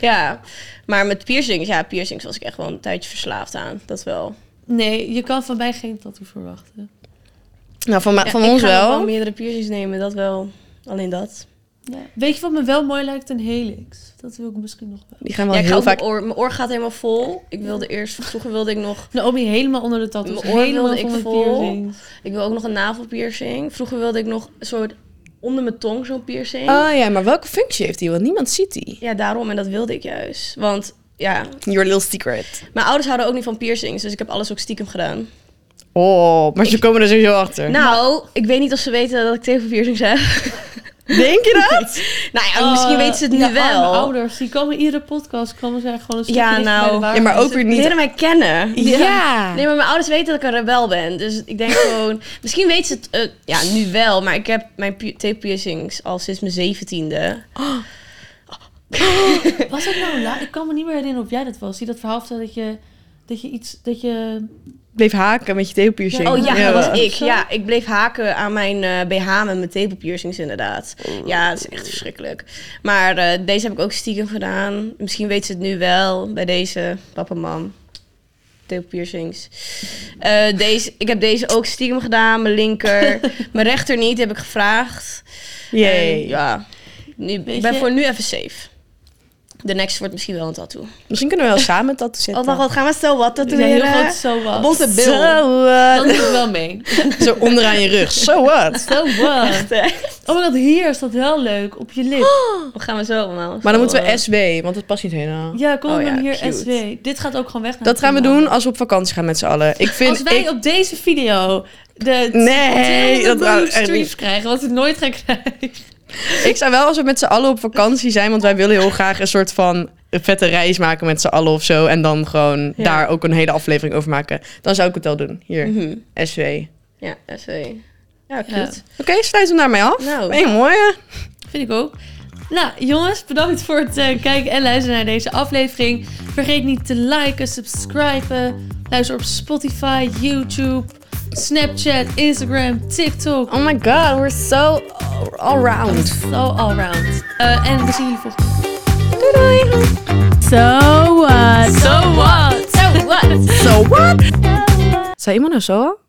Speaker 2: Ja, maar met piercings, ja, piercings was ik echt wel een tijdje verslaafd aan. Dat wel.
Speaker 3: Nee, je kan van mij geen tattoo verwachten.
Speaker 1: Nou, van, ma-
Speaker 2: Ja,
Speaker 1: van
Speaker 2: ik
Speaker 1: ons
Speaker 2: ga nog wel
Speaker 1: wel.
Speaker 2: meerdere piercings nemen, dat wel. Alleen dat.
Speaker 3: Ja. Weet je wat me wel mooi lijkt? Een helix. Dat wil ik misschien nog wel.
Speaker 1: Die gaan
Speaker 2: Ja,
Speaker 1: wel
Speaker 2: ik ga
Speaker 1: heel
Speaker 2: ook
Speaker 1: vaak...
Speaker 2: mijn, oor, mijn oor gaat helemaal vol. Ik wilde eerst, vroeger wilde ik nog
Speaker 3: Naomi helemaal onder de tattoos.
Speaker 2: Mijn oor
Speaker 3: Helemaal
Speaker 2: wilde ik
Speaker 3: van de
Speaker 2: vol.
Speaker 3: piercings.
Speaker 2: Ik wil ook nog een navelpiercing. Vroeger wilde ik nog een soort onder mijn tong zo'n piercing.
Speaker 1: Oh ja, maar welke functie heeft die? Want niemand ziet die.
Speaker 2: Ja, daarom. En dat wilde ik juist. Want ja,
Speaker 1: Your little secret.
Speaker 2: mijn ouders houden ook niet van piercings. Dus ik heb alles ook stiekem gedaan.
Speaker 1: Oh, maar ze komen er sowieso achter.
Speaker 2: Nou, ik weet niet of ze weten dat ik tegen piercings heb.
Speaker 1: Denk je dat?
Speaker 2: nou ja, misschien
Speaker 3: Eh,
Speaker 2: weten ze het nu
Speaker 3: de arme
Speaker 2: wel.
Speaker 3: ouders, die komen iedere podcast, komen ze gewoon een stukje
Speaker 2: Ja,
Speaker 3: dichter
Speaker 2: nou.
Speaker 3: bij de waarheid.
Speaker 1: Ja, maar ook weer
Speaker 2: Die
Speaker 1: niet.
Speaker 2: leren mij kennen. Die leren-
Speaker 1: Ja.
Speaker 2: Nee, maar mijn ouders weten dat ik een rebel ben. Dus ik denk gewoon... Misschien weten ze het... eh, ja, nu wel. Maar ik heb mijn pi- tape piercings al sinds mijn zeventiende.
Speaker 3: Was dat nou laat? Ik kan me niet meer herinneren of jij dat was. Die dat verhaal vertelde dat je, dat je iets, dat je...
Speaker 1: Bleef haken met je teelpiercing.
Speaker 2: Oh ja, dat was ik.
Speaker 3: Zo?
Speaker 2: Ja, ik bleef haken aan mijn eh, BH met mijn tepelpiercings inderdaad.
Speaker 1: Mm.
Speaker 2: Ja, het is echt verschrikkelijk. Maar eh, deze heb ik ook stiekem gedaan. Misschien weten ze het nu wel bij deze papa mam. Tepelpiercings. Eh, deze, ik heb deze ook stiekem gedaan, mijn linker. mijn rechter niet, heb ik gevraagd.
Speaker 1: Jee.
Speaker 2: En ja, nu, ik
Speaker 3: Weet
Speaker 2: ben
Speaker 3: je-
Speaker 2: voor nu even safe. De next wordt misschien wel een tattoo.
Speaker 1: Misschien kunnen we wel samen dat zetten.
Speaker 2: Oh, wacht, wat gaan we zo wat
Speaker 3: Dat je heel
Speaker 2: tatoeëren?
Speaker 3: groot zo was.
Speaker 2: Op onze bil.
Speaker 1: Zo
Speaker 3: Dat
Speaker 1: wat.
Speaker 3: doe ik wel mee.
Speaker 1: Zo onderaan je rug. Zo wat.
Speaker 3: Zo what?
Speaker 2: Echt, hè?
Speaker 3: Oh my god, hier is dat wel leuk. Op je lip.
Speaker 2: Wat Oh, gaan we zo allemaal?
Speaker 1: Maar dan moeten
Speaker 2: Zo,
Speaker 1: we SW, want dat past niet helemaal.
Speaker 3: Ja, kom
Speaker 2: Oh
Speaker 3: dan
Speaker 2: ja,
Speaker 3: hier
Speaker 2: cute.
Speaker 3: SW. Dit gaat ook gewoon weg. naar
Speaker 1: Dat gaan we
Speaker 3: Finland.
Speaker 1: doen als we op vakantie gaan met z'n allen. Ik vind...
Speaker 3: Als wij
Speaker 1: ik-
Speaker 3: op deze video de
Speaker 1: Nee,
Speaker 3: 200
Speaker 1: dat wou ik
Speaker 3: miljoen
Speaker 1: echt
Speaker 3: streams
Speaker 1: niet.
Speaker 3: krijgen, wat we nooit gaan krijgen.
Speaker 1: Ik zou wel als we met z'n allen op vakantie zijn, want wij willen heel graag een soort van een vette reis maken met z'n allen of zo. En dan gewoon
Speaker 2: Ja.
Speaker 1: daar ook een hele aflevering over maken. Dan zou ik het wel doen. Hier,
Speaker 2: Mhm.
Speaker 1: SW. Oké,
Speaker 2: Ja, SV. Ja,
Speaker 3: Ja.
Speaker 2: klopt.
Speaker 1: sluiten we daarmee af.
Speaker 2: Nou.
Speaker 1: Hey, mooi. hè?
Speaker 3: Vind ik ook. Nou, jongens, bedankt voor het eh, kijken en luisteren naar deze aflevering. Vergeet niet te liken, subscriben. Luister op Spotify, YouTube, Snapchat, Instagram, TikTok.
Speaker 1: Oh my god, we're so allround.
Speaker 3: So allround. Eh en we zien jullie volgende keer.
Speaker 1: Doei doei.
Speaker 3: So what? So what? So what?
Speaker 1: So what? Zei iemand nou zo?